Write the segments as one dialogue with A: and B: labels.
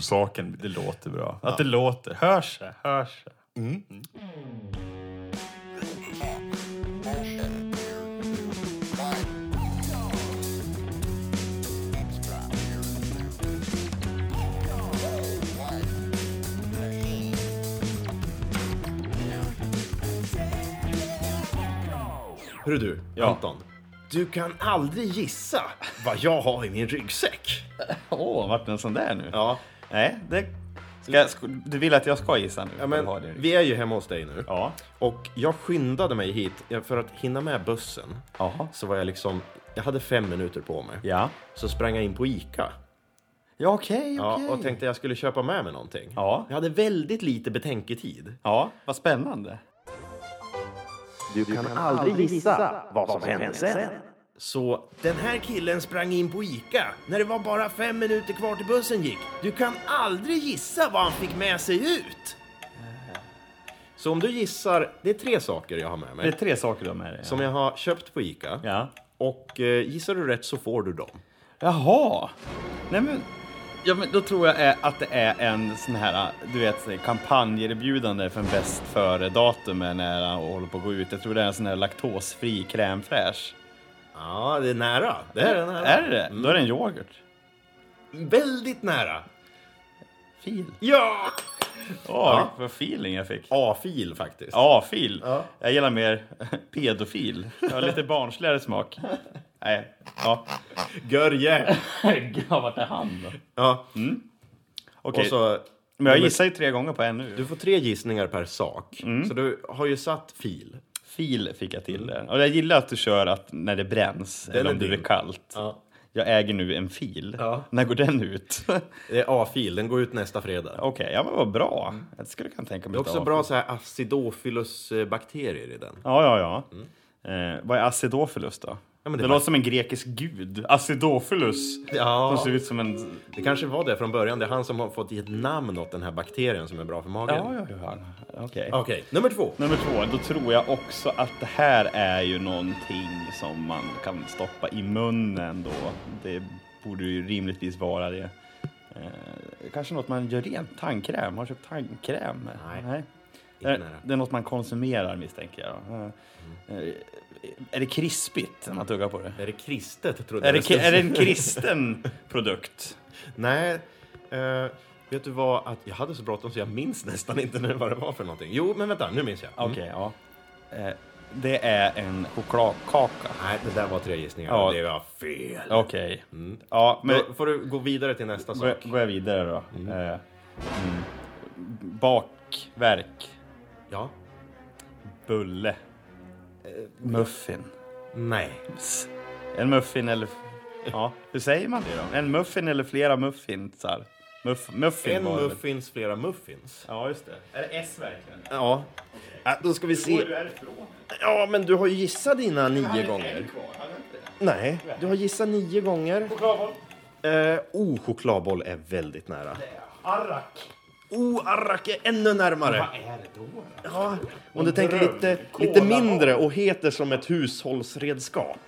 A: saken. Det låter bra. Att det låter. Hörs det? Hörs det?
B: Hörru du,
A: Ja.
B: Anton. Du kan aldrig gissa vad jag har i min ryggsäck.
A: Åh, vart det en sån där nu?
B: Ja,
A: Nej, det... Ska jag, sk- du vill att jag ska gissa nu?
B: ja
A: Eller har det-
B: men vi är ju hemma hos dig nu.
A: Ja.
B: Och jag skyndade mig hit ja, för att hinna med bussen.
A: Jaha.
B: Så var jag liksom, jag hade fem minuter på mig.
A: Ja.
B: Så sprang jag in på Ica.
A: Ja, okej,
B: Ja,
A: okej.
B: och tänkte jag skulle köpa med mig någonting.
A: Ja.
B: Jag hade väldigt lite betänketid.
A: Ja, vad spännande.
B: Så den här killen sprang in på Ica när det var bara fem minuter kvar till bussen gick. Du kan aldrig gissa vad han fick med sig ut.
A: Äh.
B: Så om du gissar, det är tre saker jag har med
A: Det är
B: mig.
A: tre saker du har med dig.
B: Som jag har köpt på Ica.
A: Ja.
B: Och eh, gissar du rätt så får du dem.
A: Jaha! Nej men, ja, men då tror jag eh, att det är en sån här, du vet, kampanjerbjudande för en bäst före-datum är nära och håller på att gå ut. Jag tror det är en sån här laktosfri crème fraîche.
B: Ja, det är nära. Det här är nära.
A: Är det det? Då är det en yoghurt.
B: Väldigt nära.
A: Fil.
B: Ja!
A: Åh, vad feeling jag fick.
B: A-fil faktiskt.
A: Ja, fil.
B: Ja.
A: Jag gillar mer pedofil. Jag har lite barnsligare smak. Nej, ja.
B: Görje.
A: Gud, vart är han då?
B: Ja.
A: Okej,
B: Och så,
A: men jag gissar ju tre gånger på en nu.
B: du får tre gissningar per sak. Så du har ju satt fil.
A: Fil fick jag till där. Och jag gillar att du kör att när det bränns eller
B: Mm. är
A: om det
B: din.
A: blir kallt.
B: Ja.
A: Jag äger nu en fil.
B: Ja.
A: När går den ut? Okej,
B: Det är A-fil, den går ut nästa fredag.
A: ja men vad bra. Det skulle jag kunna tänka mig.
B: Mm. Det är också
A: att-
B: bra så här acidophilus-bakterier i den.
A: Ja, ja, ja. Eh, vad är acidofilus då?
B: Mm. men det
A: det
B: är-
A: låter som en grekisk gud. Acidofilus.
B: Ja.
A: De ser ut som en...
B: Det kanske var det från början, det är han som har fått ge ett namn åt den här bakterien som är bra för magen.
A: Ja, ja, ja. Okej.
B: Okej, nummer två.
A: Nummer två, då tror jag också att det här är ju någonting som man kan stoppa i munnen då. Det borde ju rimligtvis vara det. Eh, kanske något man gör rent, tandkräm. Har du köpt tandkräm?
B: Nej,
A: Det är,
B: nära. Mm.
A: det är något man konsumerar misstänker jag. då. Eh, eh, Är det krispigt när man tuggar på det?
B: Är det kristet, trodde
A: Är
B: jag
A: det,
B: skulle
A: ki- är det
B: säga.
A: en kristen produkt?
B: Nej, eh, vet du vad? Att jag hade så bråttom så jag minns nästan inte nu vad det var för någonting. Jo, men vänta, nu minns jag. Mm.
A: Okej, ja. Eh, det är en chokladkaka.
B: Nej, det där var tre gissningar.
A: Ja.
B: Det var fel.
A: Okej. Ja, men...
B: Mm. Då får du gå vidare till nästa
A: Går,
B: sak.
A: går jag vidare då? Eh, mm. Bakverk.
B: Ja.
A: Bulle. Muffin.
B: Nej.
A: S- En muffin eller... Ja, hur säger man det då? En muffin eller flera muffinsar? Muff, muffin
B: En
A: var det väl?
B: muffins, flera muffins.
A: Ja, just det. Är det S verkligen?
B: Ja. ja. Då ska vi
A: Går
B: se.
A: du härifrån?
B: Ja, men du har ju gissat dina nio
A: En
B: gånger.
A: kvar, har jag inte det?
B: Nej, du har gissat nio gånger.
A: Chokladboll.
B: Eh, oh, chokladboll är väldigt nära.
A: Arrak.
B: Oh, arrak är ännu närmare.
A: Vad är det då? då?
B: Ja, om du tänker
A: Bröd,
B: lite,
A: kola.
B: lite mindre och heter som ett hushållsredskap.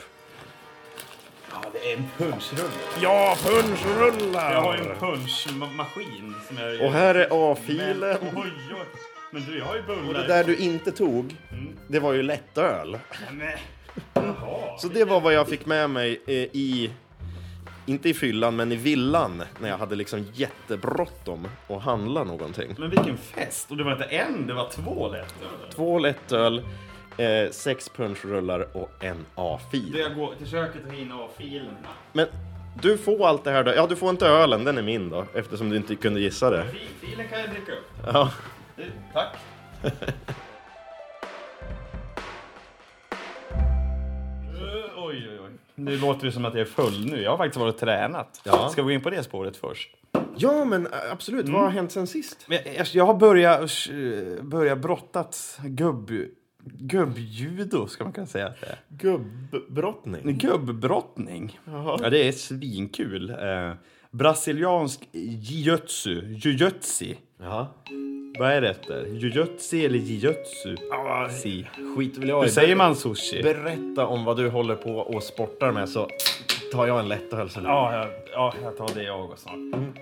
A: Ja, det är en punschrulle.
B: Ja, punschrullar!
A: Jag har ju en punschmaskin som jag...
B: Och här är
A: Men,
B: A-filen.
A: oj, oj. Men du, jag har ju bullar.
B: Det där du inte tog, det var ju lättöl.
A: Nej. Jaha.
B: Så det var vad jag fick med mig eh, i, inte i fyllan, men i villan när jag hade liksom jättebråttom att handla någonting.
A: Men vilken fest! Och det var inte en, det var två lättöl.
B: Två lättöl, eh, sex punchrullar och en
A: Du,
B: A-fil.
A: Jag går till köket och hinner av filerna.
B: Men du får allt det här då. Ja, du får inte ölen, den är min då, eftersom du inte kunde gissa det.
A: Fi- Filen kan jag dricka upp.
B: Ja.
A: Du, tack. Eh, Oj, oj, oj. Nu låter det som att jag är full nu. Jag har faktiskt varit och tränat.
B: Ja.
A: Ska vi gå in på det spåret först?
B: Ja, men ä, absolut. Vad har hänt sen sist?
A: Men jag, jag har börjat, eh, börjat brottats gubb... Gubbjudo, ska man kunna säga att det är.
B: Gubbrottning.
A: Gubbrottning. Ja, det är svinkul. Eh, brasiliansk jiu-jitsu. Jiu-jitsu.
B: Jaha.
A: Vad är det efter? Jiu-jitsu eller jiu-jitsu? Si.
B: Skit vill jag
A: Hur
B: i.
A: säger man sushi?
B: Berätta om vad du håller på och sportar med så tar jag en lättöl så länge.
A: Ja, jag, ja, jag tar det jag också snart. Mm.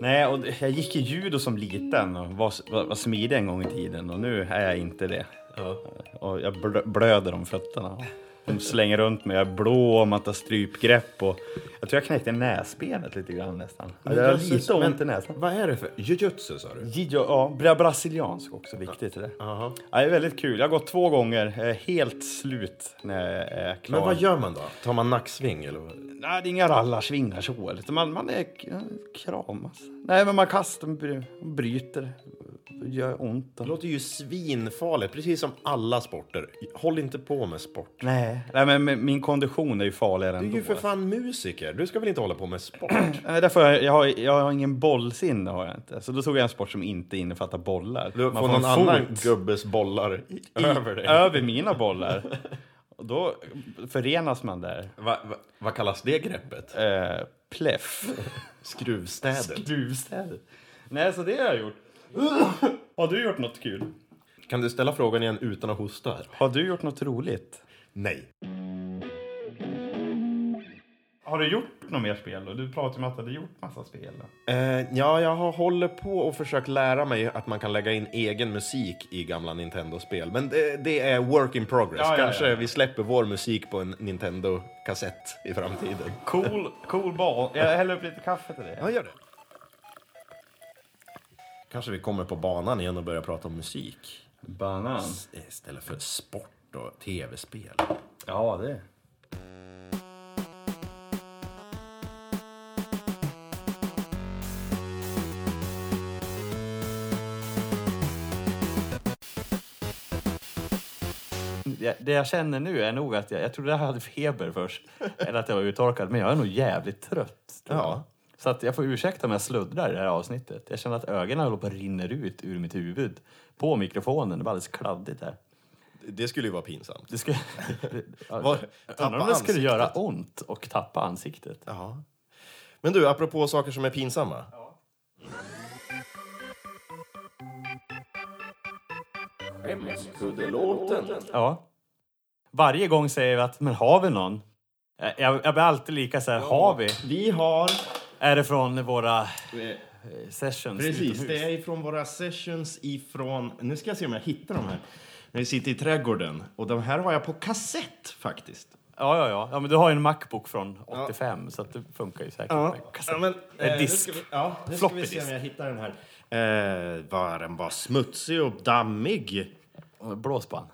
A: Nej, och jag gick i judo som liten och var, var, var smidig en gång i tiden och nu är jag inte det.
B: Ja.
A: Och jag blö, blöder om fötterna. De slänger runt mig, jag är blå om att ta strypgrepp och jag tror jag knäckte näsbenet lite grann nästan.
B: Men
A: jag har
B: jösses,
A: lite
B: men-
A: ont i näsan.
B: Vad är det för jujutsu sa du?
A: Jiu- Ja, bra- brasiliansk också, viktigt är det.
B: Aha.
A: Ja, det är väldigt kul. Jag har gått två gånger, jag är helt slut när jag är klar.
B: Men vad gör man då? Tar man nacksving eller? vad?
A: Nej, det är inga rallarsvingar så. utan Man, man är k- kramas. Nej, men man kastar, man bry- man bryter, det gör ont.
B: Det låter ju svinfarligt, precis som alla sporter. Håll inte på med sport.
A: Nej, nej men min- min kondition är ju farligare
B: Du
A: ändå.
B: är ju för fan musiker, du ska väl inte hålla på med sport?
A: Nej, därför har jag, jag, har, jag har ingen bollsinne, har jag inte. Så då tog jag en sport som inte innefattar bollar.
B: Du får
A: en
B: någon
A: fot
B: annan gubbes bollar i, över dig.
A: över mina bollar. Och då förenas man där.
B: Va, va, vad kallas det greppet?
A: Eh, pleff.
B: Skruvstädet.
A: Skruvstäd. Nej, så det har jag gjort. har du gjort något kul?
B: Kan du ställa frågan igen utan att hosta?
A: Har du gjort något roligt?
B: Nej.
A: Har du gjort något mer spel? Då? Du pratade om att du hade gjort massa spel. Då.
B: Eh, ja, jag har håller på och försökt lära mig att man kan lägga in egen musik i gamla Nintendo-spel. Men det, det är work in progress.
A: Ja, ja, ja.
B: Kanske vi släpper vår musik på en Nintendo-kassett i framtiden.
A: Cool, cool ball. Jag häller upp lite kaffe till dig.
B: Ja, gör det. Kanske vi kommer på banan igen och börjar prata om musik.
A: Banan.
B: S- Istället för sport och tv-spel.
A: Ja, det. Det- Det jag känner nu är nog att jag, jag trodde jag hade feber först, eller att jag var uttorkad, men jag är nog jävligt trött. tror jag.
B: Ja.
A: Så att jag får ursäkta om jag sluddrar i det här avsnittet. Jag känner att ögonen håller på att rinner ut ur mitt huvud på mikrofonen. Det var alldeles kladdigt här.
B: Det skulle ju vara pinsamt.
A: Det skulle...
B: Var-
A: Undrar
B: tappa
A: om det skulle
B: ansiktet.
A: göra ont och tappa ansiktet.
B: Ja. Men du, apropå saker som är pinsamma.
A: Ja. Varje gång säger vi att, men har vi någon? Eh, Jag, jag blir alltid lika så här, har vi?
B: Vi har...
A: Är det från våra eh, sessions
B: Precis,
A: utomhus?
B: det är ifrån våra sessions ifrån... Nu ska jag se om jag hittar de här. När vi sitter i trädgården. Och de här har jag på kassett faktiskt.
A: Ja, ja, ja, ja. men du har ju en Macbook från 85 så att det funkar ju säkert. med kassett.
B: men,
A: Eh,
B: eh,
A: disk.
B: Nu ska vi, ja, nu ska
A: Floppy
B: vi se om
A: disk.
B: jag hittar den här. Eh, var den bara smutsig och dammig?
A: Och Blåsband.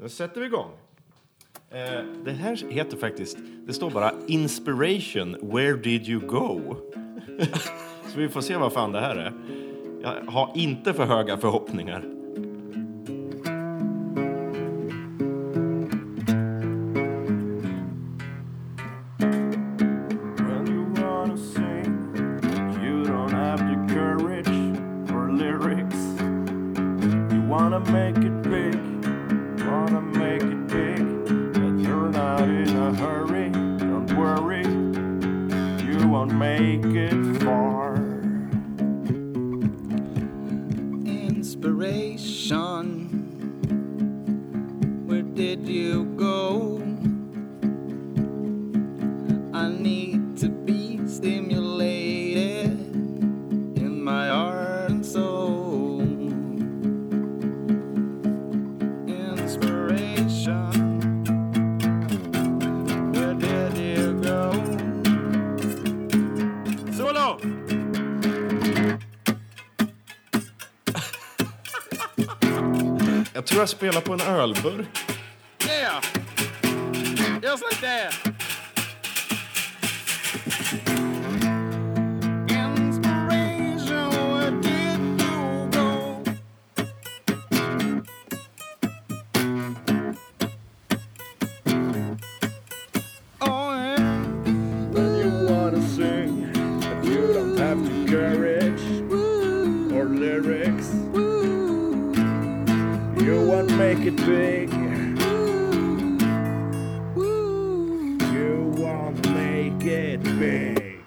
B: Nu sätter vi igång. Eh, det här heter faktiskt... Det står bara Inspiration, where did you go? Så vi får se vad fan det här är. Jag har inte för höga förhoppningar.
C: When you wanna sing, you don't have the courage for lyrics. You wanna make it big, wanna make it big, but you're not in a hurry, don't worry, you won't make it far.
D: inspiration. Where did you go? I need to be stimulated in my heart and soul. Inspiration. Where did you go?
C: Solo!
B: Jag tror jag spelar på en ölburk.
D: Yeah. Just like that. Inspiration, where did you go? Oh, yeah.
C: When you wanna sing, but you don't have the courage or lyrics. You won't make it big. You won't make it big.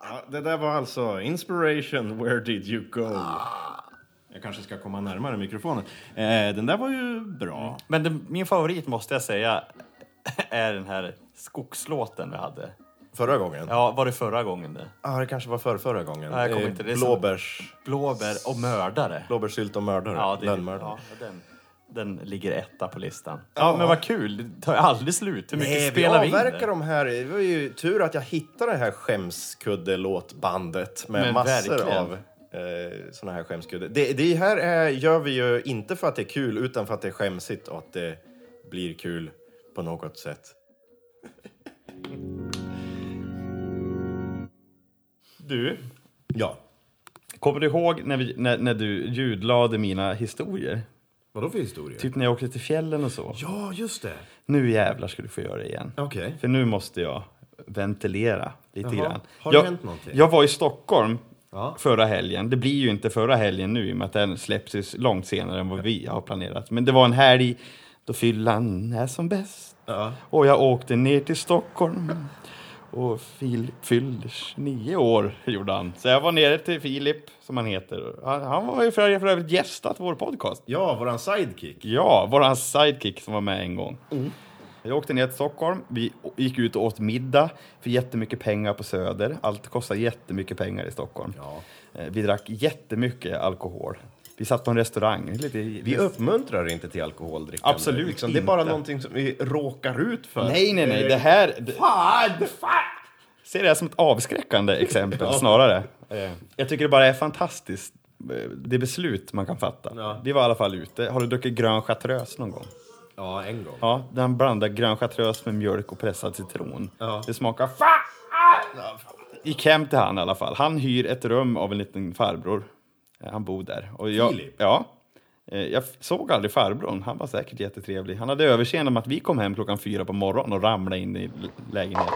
B: Ja, det där var alltså Inspiration, where did you go? Ah. Jag kanske ska komma närmare mikrofonen. Eh, den där var ju bra.
A: Men det, min favorit måste jag säga
E: är den här skogslåten vi hade.
B: Förra gången? Ja,
E: Ja, var det förra gången det?
B: det kanske var förra, förra gången.
E: Ja, jag kommer
B: Eh,
E: inte- det är så-
B: Blåbärs,
E: Blåbär och mördare.
B: blåbärssylt och mördare.
E: Ja, det,
B: Lönnmördare.
E: ja den, den ligger etta på listan. Ja, men vad kul. Det tar ju aldrig slut. Hur mycket
B: Nej, vi
E: spelar vi in?
B: avverkar
E: där?
B: de här. Det var ju tur att jag hittade det här skämskuddelåtbandet med
E: Men
B: massor
E: verkligen.
B: av eh, såna här skämskudde. Det, det här är, gör vi ju inte för att det är kul utan för att det är skämsigt och att det blir kul på något sätt.
A: Du,
B: Ja.
A: kommer du ihåg när, vi, när, när du ljudlade mina historier?
F: Vadå för historia?
A: Typ när jag åkte till fjällen och så.
F: Ja, just det.
A: Nu jävlar ska du få göra det igen.
F: Okej.
A: För nu måste jag ventilera lite
F: Jaha.
A: grann.
F: Har det
A: jag,
F: hänt någonting?
A: Jag var i Stockholm
F: Ja.
A: förra helgen. Det blir ju inte förra helgen nu i och med att den släpps ju långt senare än vad vi har planerat. Men det var en helg då fyllan är som bäst. Och jag åkte ner till Stockholm. Och Filip fylldes nio år, gjorde han. Så jag var nere till Filip, som han heter. Han, han var ju för, för övrigt gästat vår podcast.
F: Ja, våran sidekick.
A: Ja, våran sidekick som var med en gång. Jag åkte ner till Stockholm, vi å- gick ut och åt middag för jättemycket pengar på Söder. Allt kostar jättemycket pengar i Stockholm. Eh, Vi drack jättemycket alkohol. Vi satt på en restaurang. Lite,
B: Vi uppmuntrar inte till alkoholdrickande. Liksom,
A: Absolut
B: Det är bara
A: inte.
B: någonting som vi råkar ut för. Eh,
A: Nej, nej, nej, det här... Det,
B: Fan!
A: ser det här som ett avskräckande exempel snarare. Eh, Jag tycker det bara är fantastiskt, eh, det beslut man kan fatta.
F: Ja.
A: Vi var i alla fall ute. Har du druckit grön chartreuse någon gång?
F: Ja, en gång.
A: Ja, den blandar grön chartreuse med mjölk och pressad citron.
F: Ja.
A: Det smakar fan! Gick hem till han i alla fall. Han hyr ett rum av en liten farbror. Eh, Han bor där. Och jag,
F: Filip?
A: Ja. Eh, Jag f- såg aldrig farbrorn. Han var säkert jättetrevlig. Han hade överseende med att vi kom hem klockan fyra på morgonen och ramlade in i l- lägenheten.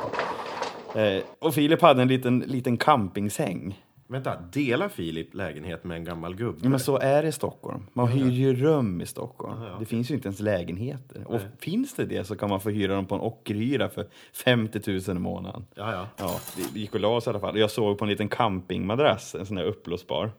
A: Eh, Och Filip hade en liten, liten campingsäng.
B: Vänta, delar Filip lägenhet med en gammal gubbe?
A: Ja, men så är det i Stockholm. Man hyr ju rum i Stockholm. Det finns ju inte ens lägenheter. Och finns det det så kan man få hyra dem på en ockerhyra för 50 000 i månaden.
F: Ja, ja.
A: Ja, vi gick och la oss i alla fall. Jag sov på en liten campingmadrass, en sån där uppblåsbar.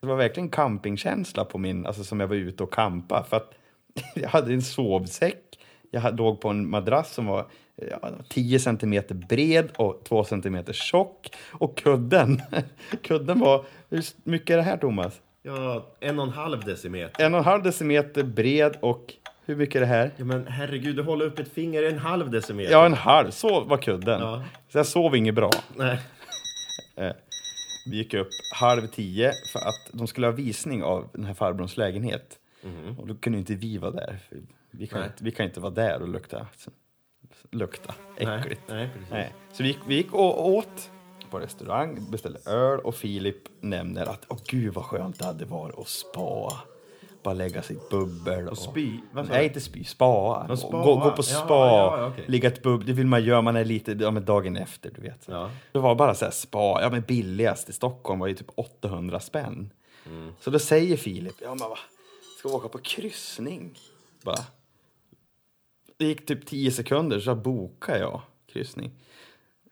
A: Det var verkligen campingkänsla på min, alltså som jag var ute och kampa. För att jag hade en sovsäck, jag hade- låg på en madrass som var ja, 10 centimeter bred och 2 centimeter tjock. Och kudden, kudden var, hur mycket är det här Thomas?
F: Ja, en och en halv decimeter.
A: En och en halv decimeter bred och hur mycket är det här?
F: Ja, men herregud, du håller upp ett finger en halv decimeter.
A: Ja, en halv. Så var kudden.
F: Ja.
A: Så jag sov inget bra.
F: Nej.
A: Vi gick upp halv tio för att de skulle ha visning av den här farbrorns lägenhet.
F: Mhm.
A: Och då kunde ju inte vi vara där. För vi, kan inte, vi kan inte vara där och lukta, lukta äckligt.
F: Nej, precis.
A: Nej. Så vi gick, vi gick och åt på restaurang, beställde öl och Filip nämner att åh gud vad skönt det hade varit att spa. Bara lägga sig i ett bubbel. Och
F: spy? Vad sa
A: Nej,
F: du?
A: inte spy. Spa.
F: Ja, spa.
A: Gå, gå på
F: Ja,
A: spa.
F: ja, ja, okej.
A: Ligga i ett bubbel. Det vill man göra. Man är lite, ja men dagen efter, du vet.
F: Ja.
A: Det var bara så här spa. Ja men billigast i Stockholm var ju typ 800 spänn. Så då säger Filip, ja men va, ska vi åka på kryssning? Bara. Det gick typ 10 sekunder så bokade jag kryssning.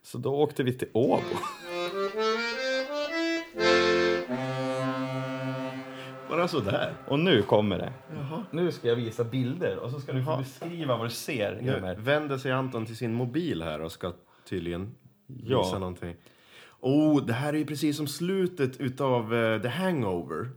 A: Så då åkte vi till Åbo.
F: Bara sådär.
A: Och nu kommer det. Nu ska jag visa bilder och så ska du få beskriva vad du ser.
B: Nu
A: Emil.
B: vänder sig Anton till sin mobil här och ska tydligen
A: Ja.
B: visa någonting. Oh, det här är ju precis som slutet utav eh, The Hangover.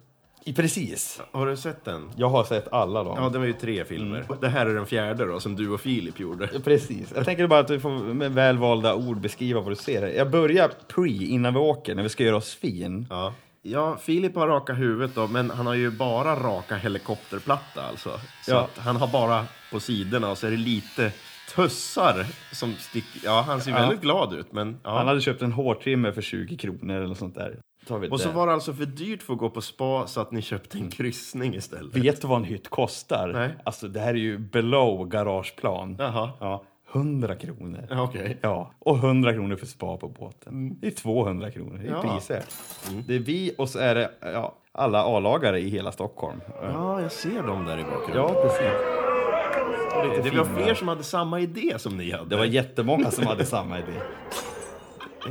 A: I- Precis.
B: Har du sett den?
A: Jag har sett alla dem.
B: Ja, det var ju tre filmer. Det här är den fjärde då, som du och Filip gjorde.
A: Precis. Jag tänker bara att du får med välvalda ord beskriva vad du ser. Jag börjar pre, innan vi åker, när vi ska göra oss fin.
B: Ja. ja, Filip har raka huvudet då, men han har ju bara raka helikopterplatta alltså. Så
A: Ja.
B: att han har bara på sidorna och så är det lite tussar som sticker. Ja, han ser väldigt glad ut, men ja.
A: Han hade köpt en hårtrimmer för 20 kronor eller något sånt där. Tar vi
B: Och så
A: det.
B: var det alltså för dyrt för att gå på spa så att ni köpte en kryssning istället.
A: Vet du vad en hytt kostar?
B: Nej.
A: Alltså, det här är ju below garageplan.
B: Jaha.
A: Ja, 100 kronor.
B: Ja, Okej.
A: Ja, och 100 kronor för spa på båten. Det är 200 kronor i
B: Ja. Mm.
A: priser. Det är vi och så är det ja, alla A-lagare i hela Stockholm.
B: Ja, jag ser dem där i bakgrunden.
A: Ja, precis.
B: det, det var
A: fina.
B: fler som hade samma idé som ni hade.
A: Det var jättemånga som hade samma idé.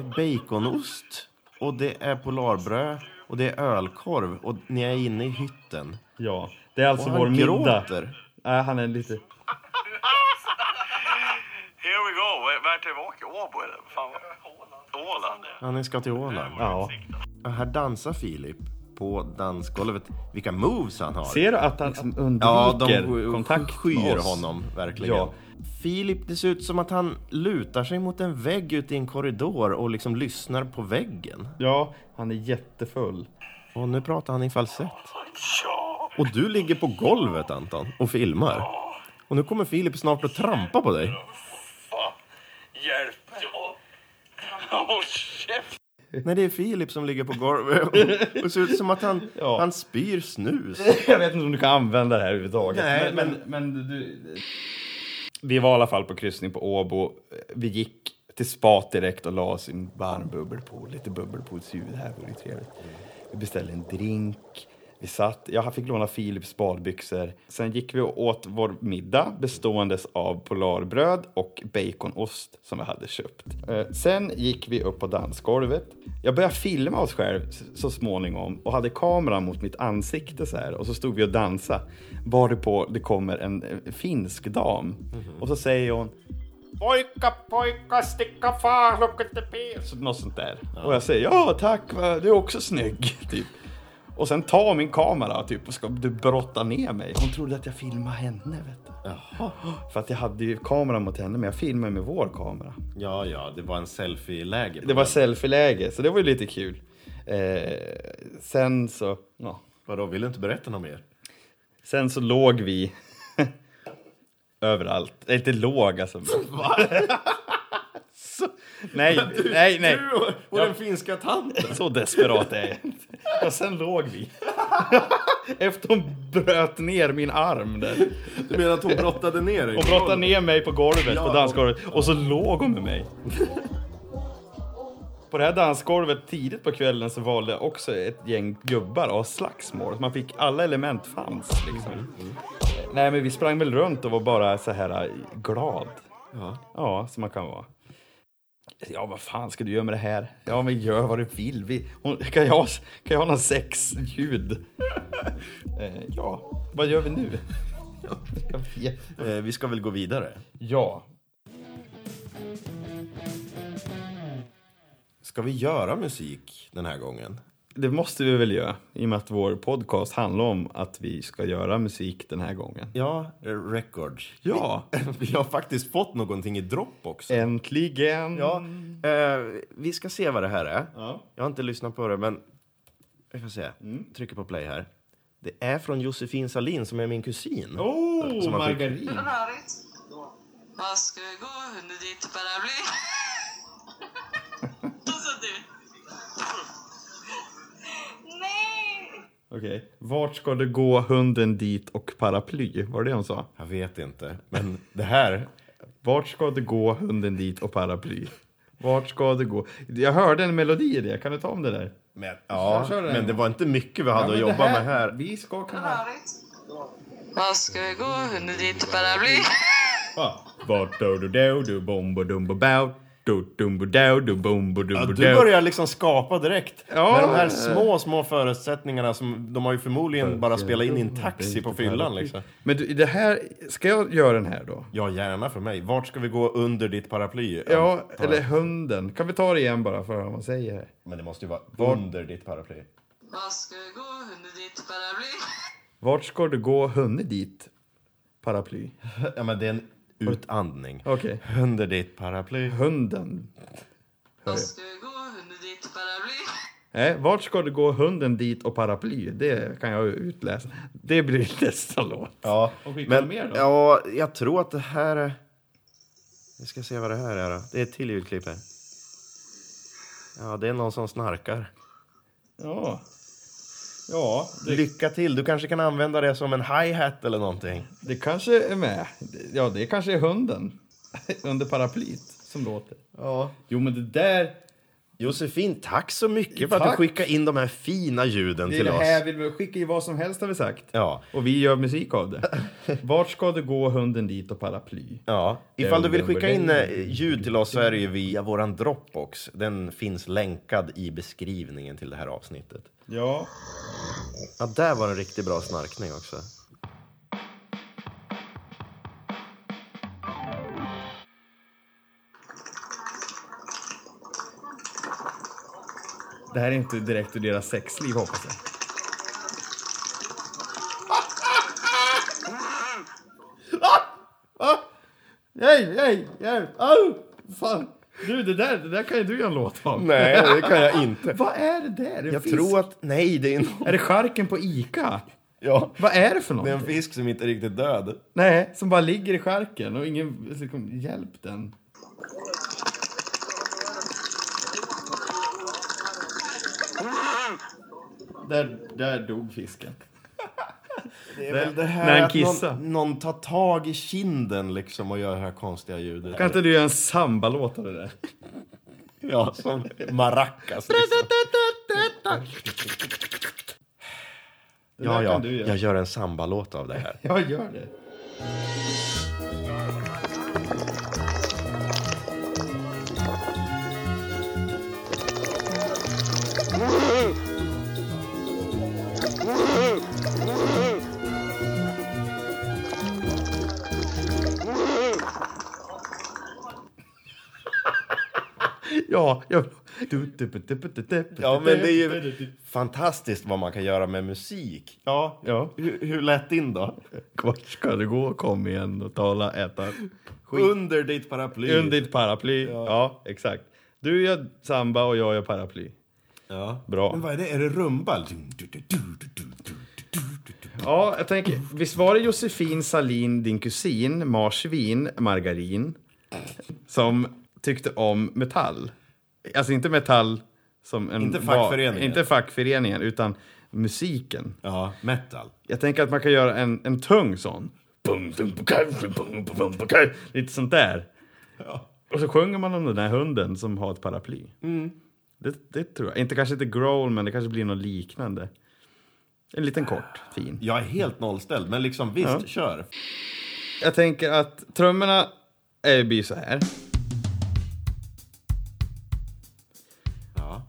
B: baconost och det är polarbröd och det är ölkorv och ni är inne i hytten.
A: Ja, det är alltså
B: Och
A: vår
B: han
A: middag.
B: gråter.
A: Nej, han är lite...
G: Wow, vart är vi? Åbo eller? Fan, vad... Åland. ja.
H: Ja, ni ska till Åland.
I: Ja.
H: Ja, här dansar Filip på dansgolvet. Vilka moves han har.
A: Ser du att han liksom
H: Ja, de
A: undviker
H: sk-
A: kontakt med
H: skyr
A: oss?
H: honom verkligen.
A: Ja.
H: Filip, det ser ut som att han lutar sig mot en vägg ute i en korridor och liksom lyssnar på väggen.
A: Ja, han är jättefull.
H: Och nu pratar han i falsett. Och du ligger på golvet Anton och filmar. Och nu kommer Filip snart att trampa på dig.
G: Hjälp! Håll käften!
H: Nej, det är Filip som ligger på golvet och, och ser ut som att han,
A: Ja.
H: han spyr snus.
A: Jag vet inte om du kan använda det här överhuvudtaget.
H: Nej,
A: men, men, men du... Vi var i alla fall på kryssning på Åbo. Vi gick till spat direkt och la oss i en varm bubbelpool. Lite bubbelpoolshuvud här vore ju trevligt. Vi beställde en drink. Vi satt, jag fick låna Philips badbyxor. Sen gick vi och åt vår middag beståendes av Polarbröd och baconost som vi hade köpt. Eh, Sen gick vi upp på dansgolvet. Jag började filma oss själv s- så småningom och hade kameran mot mitt ansikte så här och så stod vi och dansade. Varpå det kommer en eh, finsk dam och så säger hon Pojka, pojka, sticka far, look at the pier. Så Något sånt där. Och jag säger ja tack, va, du är också snygg. Typ. Och sen tar min kamera typ, och ska du brotta ner mig. Hon trodde att jag filmade henne. Vet du. För att jag hade ju kameran mot henne, men jag filmade med vår kamera.
H: Ja, ja, det var en selfie-läge.
A: Det var selfie-läge, så det var ju lite kul. Eh, sen så... Ja.
B: Vadå, vill du inte berätta något mer?
A: Sen så låg vi överallt. Eller inte låg alltså. så, nej, nej, nej.
B: Och den finska tanten!
A: Så desperat är jag inte. Och sen låg vi. Efter hon bröt ner min arm där.
B: Du menar att hon brottade ner dig?
A: Och brottade ner mig på golvet, på dansgolvet. Och så låg hon med mig. På det här dansgolvet tidigt på kvällen så valde också ett gäng gubbar att ha slagsmål. Man fick alla element fanns liksom. Nej men vi sprang väl runt och var bara så här äh, glad. Ja. Ja, som man kan vara. Ja, vad fan ska du göra med det här? Ja, men gör vad du vill. Vi, hon, kan, jag, kan jag ha någon sexljud? eh, ja, vad gör vi nu? Jag vet
B: Eh, Vi ska väl gå vidare?
A: Ja.
B: Ska vi göra musik den här gången?
A: Det måste vi väl göra, i och med att vår podcast handlar om att vi ska göra musik den här gången.
B: Ja, eh, records.
A: Ja,
B: Vi har faktiskt fått någonting i Dropbox.
A: äntligen!
B: Ja, eh, vi ska se vad det här är.
A: Ja.
B: Jag har inte lyssnat på det, men vi får se. Trycker på play här. Det är från Josefin Salin som är min kusin.
A: Oh,
B: Som man fick-
A: margarin!
J: Rörigt. Vad ska vi gå under ditt paraply? Då sa du. Nej!
A: Okej. Vart ska det gå hunden dit och paraply? Var det hon sa?
B: Jag vet inte, men det här...
A: Vart ska det gå hunden dit och paraply? Vart ska det gå? Jag hörde en melodi i det, kan du ta om det där?
B: Men, ja,
A: kör den.
B: men det var inte mycket vi hade
A: men
B: att
A: det
B: jobba med här.
A: Vi ska kunna...
J: Rörigt. Vad ska vi gå under ditt paraply?
A: Vart do do do do bombo dumbo bow do dumbo do do bombo dumbo
B: Ja, du
A: dow.
B: börjar liksom skapa direkt.
A: Ja.
B: Med de här små, små förutsättningarna som de har ju förmodligen bara spelat in i en taxi på fyllan liksom.
A: Men du, det här, ska jag göra den här då?
B: Ja, gärna för mig. Vart ska vi gå under ditt paraply?
A: Ja, eller hunden. Kan vi ta det igen bara för att höra vad man säger?
B: Men det måste ju vara under ditt paraply.
J: Vad ska vi gå under ditt paraply?
A: Vart ska du gå hunne dit? Paraply.
B: Ja, men det är en utandning.
A: Okej.
B: Under ditt paraply.
A: Hunden.
J: Vad ska vi gå under ditt paraply?
A: Nej, vart ska du gå hunden dit och paraply? Det kan jag utläsa. Det blir nästa låt.
B: Ja,
A: skicka
B: men,
A: mer då?
B: ja, jag tror att det här är... Vi ska se vad det här är då. Det är ett till ljudklipp här. Ja, det är någon som snarkar.
A: Ja. Ja, det,
B: Lycka till! Du kanske kan använda det som en hi-hat eller någonting.
A: det kanske är med. Ja, det kanske är hunden under paraplyt som låter.
B: Ja.
A: Jo, men det där...
B: Josefin, tack så mycket för att
A: Tack.
B: du skickade in de här fina ljuden
A: Det är
B: till
A: det
B: oss.
A: här vi vill skicka i vad som helst har vi sagt.
B: Ja.
A: Och vi gör musik av det. Vart ska du gå hunden dit och paraply?
B: Ja, ifall du vill skicka in eh, ljud till oss så är det ju via våran Dropbox. Den finns länkad i beskrivningen till det här avsnittet.
A: Ja.
B: Ja, där var en riktigt bra snarkning också.
A: Det här är inte direkt ur deras sexliv hoppas jag. Nej, nej, hjälp! Au! Fan! Du, det där, det där kan ju du göra en låt av.
B: Nej, det kan jag inte.
A: Vad är det där? Det är
B: Jag
A: fisk.
B: tror att... Nej, det är en...
A: Är det skärken på Ica?
B: Ja.
A: Vad är det för något?
B: Det är en fisk som inte är riktigt död.
A: Nej, som bara ligger i skärken och ingen... Liksom, hjälp den. Där, där dog fisken.
B: Det är väl det
A: när
B: här
A: den
B: att
A: kissar.
B: någon, någon tar tag i kinden liksom och gör det här konstiga ljudet.
A: Kan inte du göra en sambalåt av det där?
B: Ja, som maracas liksom.
A: Det
B: Ja,
A: där
B: ja,
A: kan du göra.
B: jag gör en sambalåt av det här.
A: Jag gör det. Ja, jag...
B: Ja, men det är ju fantastiskt vad man kan göra med musik. Ja,
A: Ja.
B: hur, hur lät din då?
A: Vart ska du gå? Kom igen och tala, äta.
B: Under ditt paraply.
A: Under ditt paraply. Ja. exakt. Du gör samba och jag gör paraply.
B: Ja.
A: Bra.
B: Men vad är det? Är det rumba?
A: Ja, jag tänker, visst var det Josefin Salin, din kusin, marsvin, margarin, som tyckte om metall? Alltså inte metall som en...
B: Inte
A: var-
B: fackföreningen.
A: Inte fackföreningen, utan musiken.
B: Ja, metal.
A: Jag tänker att man kan göra en, en tung sån. Bum, bum, bukaj, bum, bum, bum, bukaj. Lite sånt där. Och så sjunger man om den där hunden som har ett paraply. Det, det tror jag. Inte kanske inte growl, men det kanske blir något liknande. En liten kort, fin.
B: Jag är helt nollställd, men liksom visst, kör.
A: Jag tänker att trummorna är, blir så här.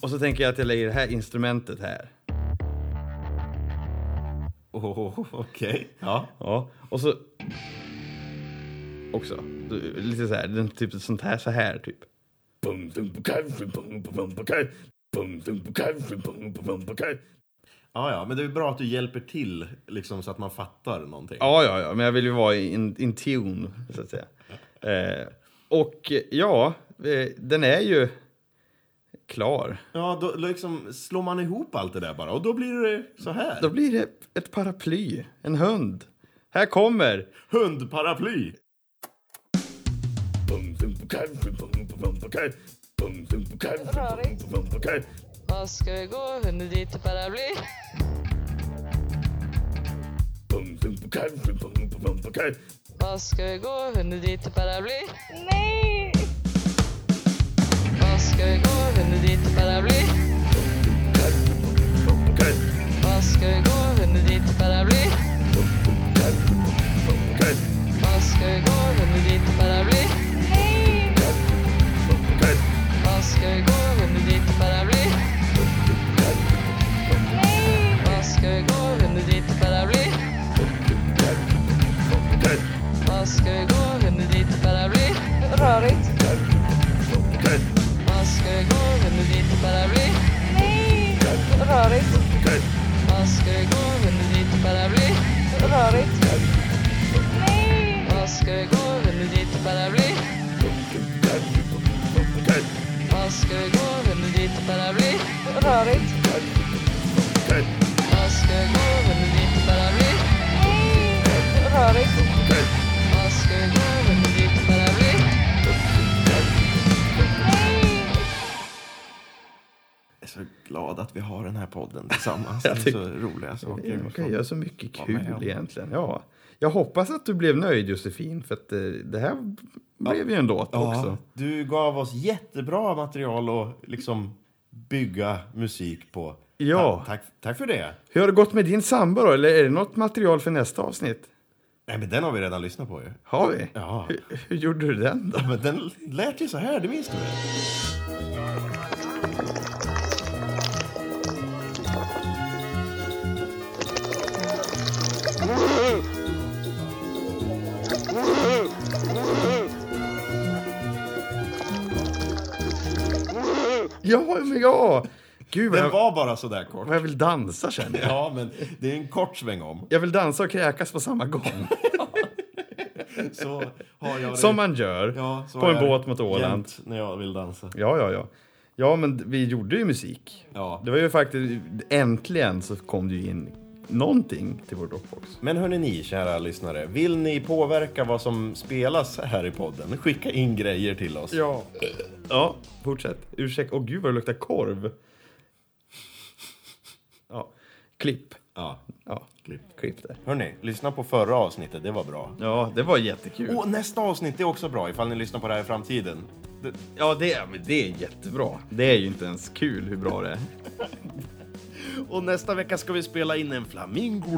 A: Och så tänker jag att jag lägger det här instrumentet här.
B: Oh, Okej. Ja.
A: Ja, och så... Också. Du, Lite så här, den, typ sånt här, så här typ. Bum, dum, bukaj, bum, bum, bukaj. Bum, dum, bukaj, bum, bum, bukaj.
B: Ja, ja, men det är bra att du hjälper till liksom, så att man fattar någonting.
A: Ja, ja, ja, men jag vill ju vara in, in tune, så att säga. Eh, och ja, eh, den är ju klar.
B: Ja, då liksom slår man ihop allt det där bara och då blir det så här.
A: Då blir det ett paraply, en hund. Här kommer...
B: Hundparaply!
A: Bum, dum, bukaj, bum, bum, bukaj. Bum, dum, bukaj, bum, bum, bukaj.
J: Vad ska vi gå? Hunden dit till paraply.
A: Bum, dum, bukaj, bum, bum, bukaj.
J: Vad ska vi gå? Hunden dit till paraply. Nej! Vad ska vi gå? Hunden dit till paraply. Vad ska vi gå? Hunden dit till paraply. Vad ska vi gå? Hunden dit till paraply. Nej! Vad ska vi gå? Hunden dit till paraply. Nej! Vad ska vi gå? Hunden dit till paraply. Vad ska vi gå? Hunden dit till paraply. Rörigt. Vad ska vi gå? Hunden dit till paraply. Nej! Rörigt. Vad ska vi gå? Hunden dit till paraply. Rörigt. Nej! Vad ska vi gå? Hunden dit till paraply. Vad ska vi gå? Hunden dit till paraply. Rörigt. Vad ska vi gå? Hunden dit till paraply. Nej! Rörigt. Vad ska vi gå? Hunden dit till paraply. Nej!
B: Jag är så glad att vi har den här podden tillsammans.
A: Jag
B: Det är så roliga saker.
A: Man kan göra så mycket
B: med
A: kul
B: om.
A: egentligen. Ja. Jag hoppas att du blev nöjd Josefin, för att eh, det här blev ju en låt
B: Ja,
A: också.
B: du gav oss jättebra material att liksom bygga musik på.
A: Ja.
B: Ta- tack, tack för det.
A: Hur har det gått med din samba då? Eller är det något material för nästa avsnitt?
B: Nej, men den har vi redan lyssnat på ju.
A: Har vi?
B: Ja.
A: Hur, hur gjorde du den då?
B: Men den lät ju så här, det minns du väl?
A: Ja, men ja!
K: Gud, vad
B: Den
K: jag,
B: var bara sådär kort.
K: vad jag vill dansa känner jag.
B: Ja, men det är en kort sväng om.
K: Jag vill dansa och kräkas på samma gång.
B: Så har jag det.
K: Som man gör
B: Ja, så
K: på
B: har
K: en
B: jag det
K: båt mot Åland.
B: jämt när jag vill dansa.
K: Ja, ja, ja. Ja, men vi gjorde ju musik.
B: Ja.
K: Det var ju faktiskt, äntligen så kom det ju in någonting till vår Dropbox.
B: Men hörni ni, kära lyssnare. Vill ni påverka vad som spelas här i podden? Skicka in grejer till oss.
K: Ja. Ja, fortsätt. Ursäkta. Åh gud vad det luktar korv. Ja. Klipp.
B: Ja.
K: Ja, klipp, klipp det.
B: Hörni, lyssna på förra avsnittet. Det var bra.
K: Ja, det var jättekul.
B: Och nästa avsnitt är också bra ifall ni lyssnar på det här i framtiden. Det,
K: Ja, det, men det är jättebra. Det är ju inte ens kul hur bra det är.
L: Och nästa vecka ska vi spela in en flamingo.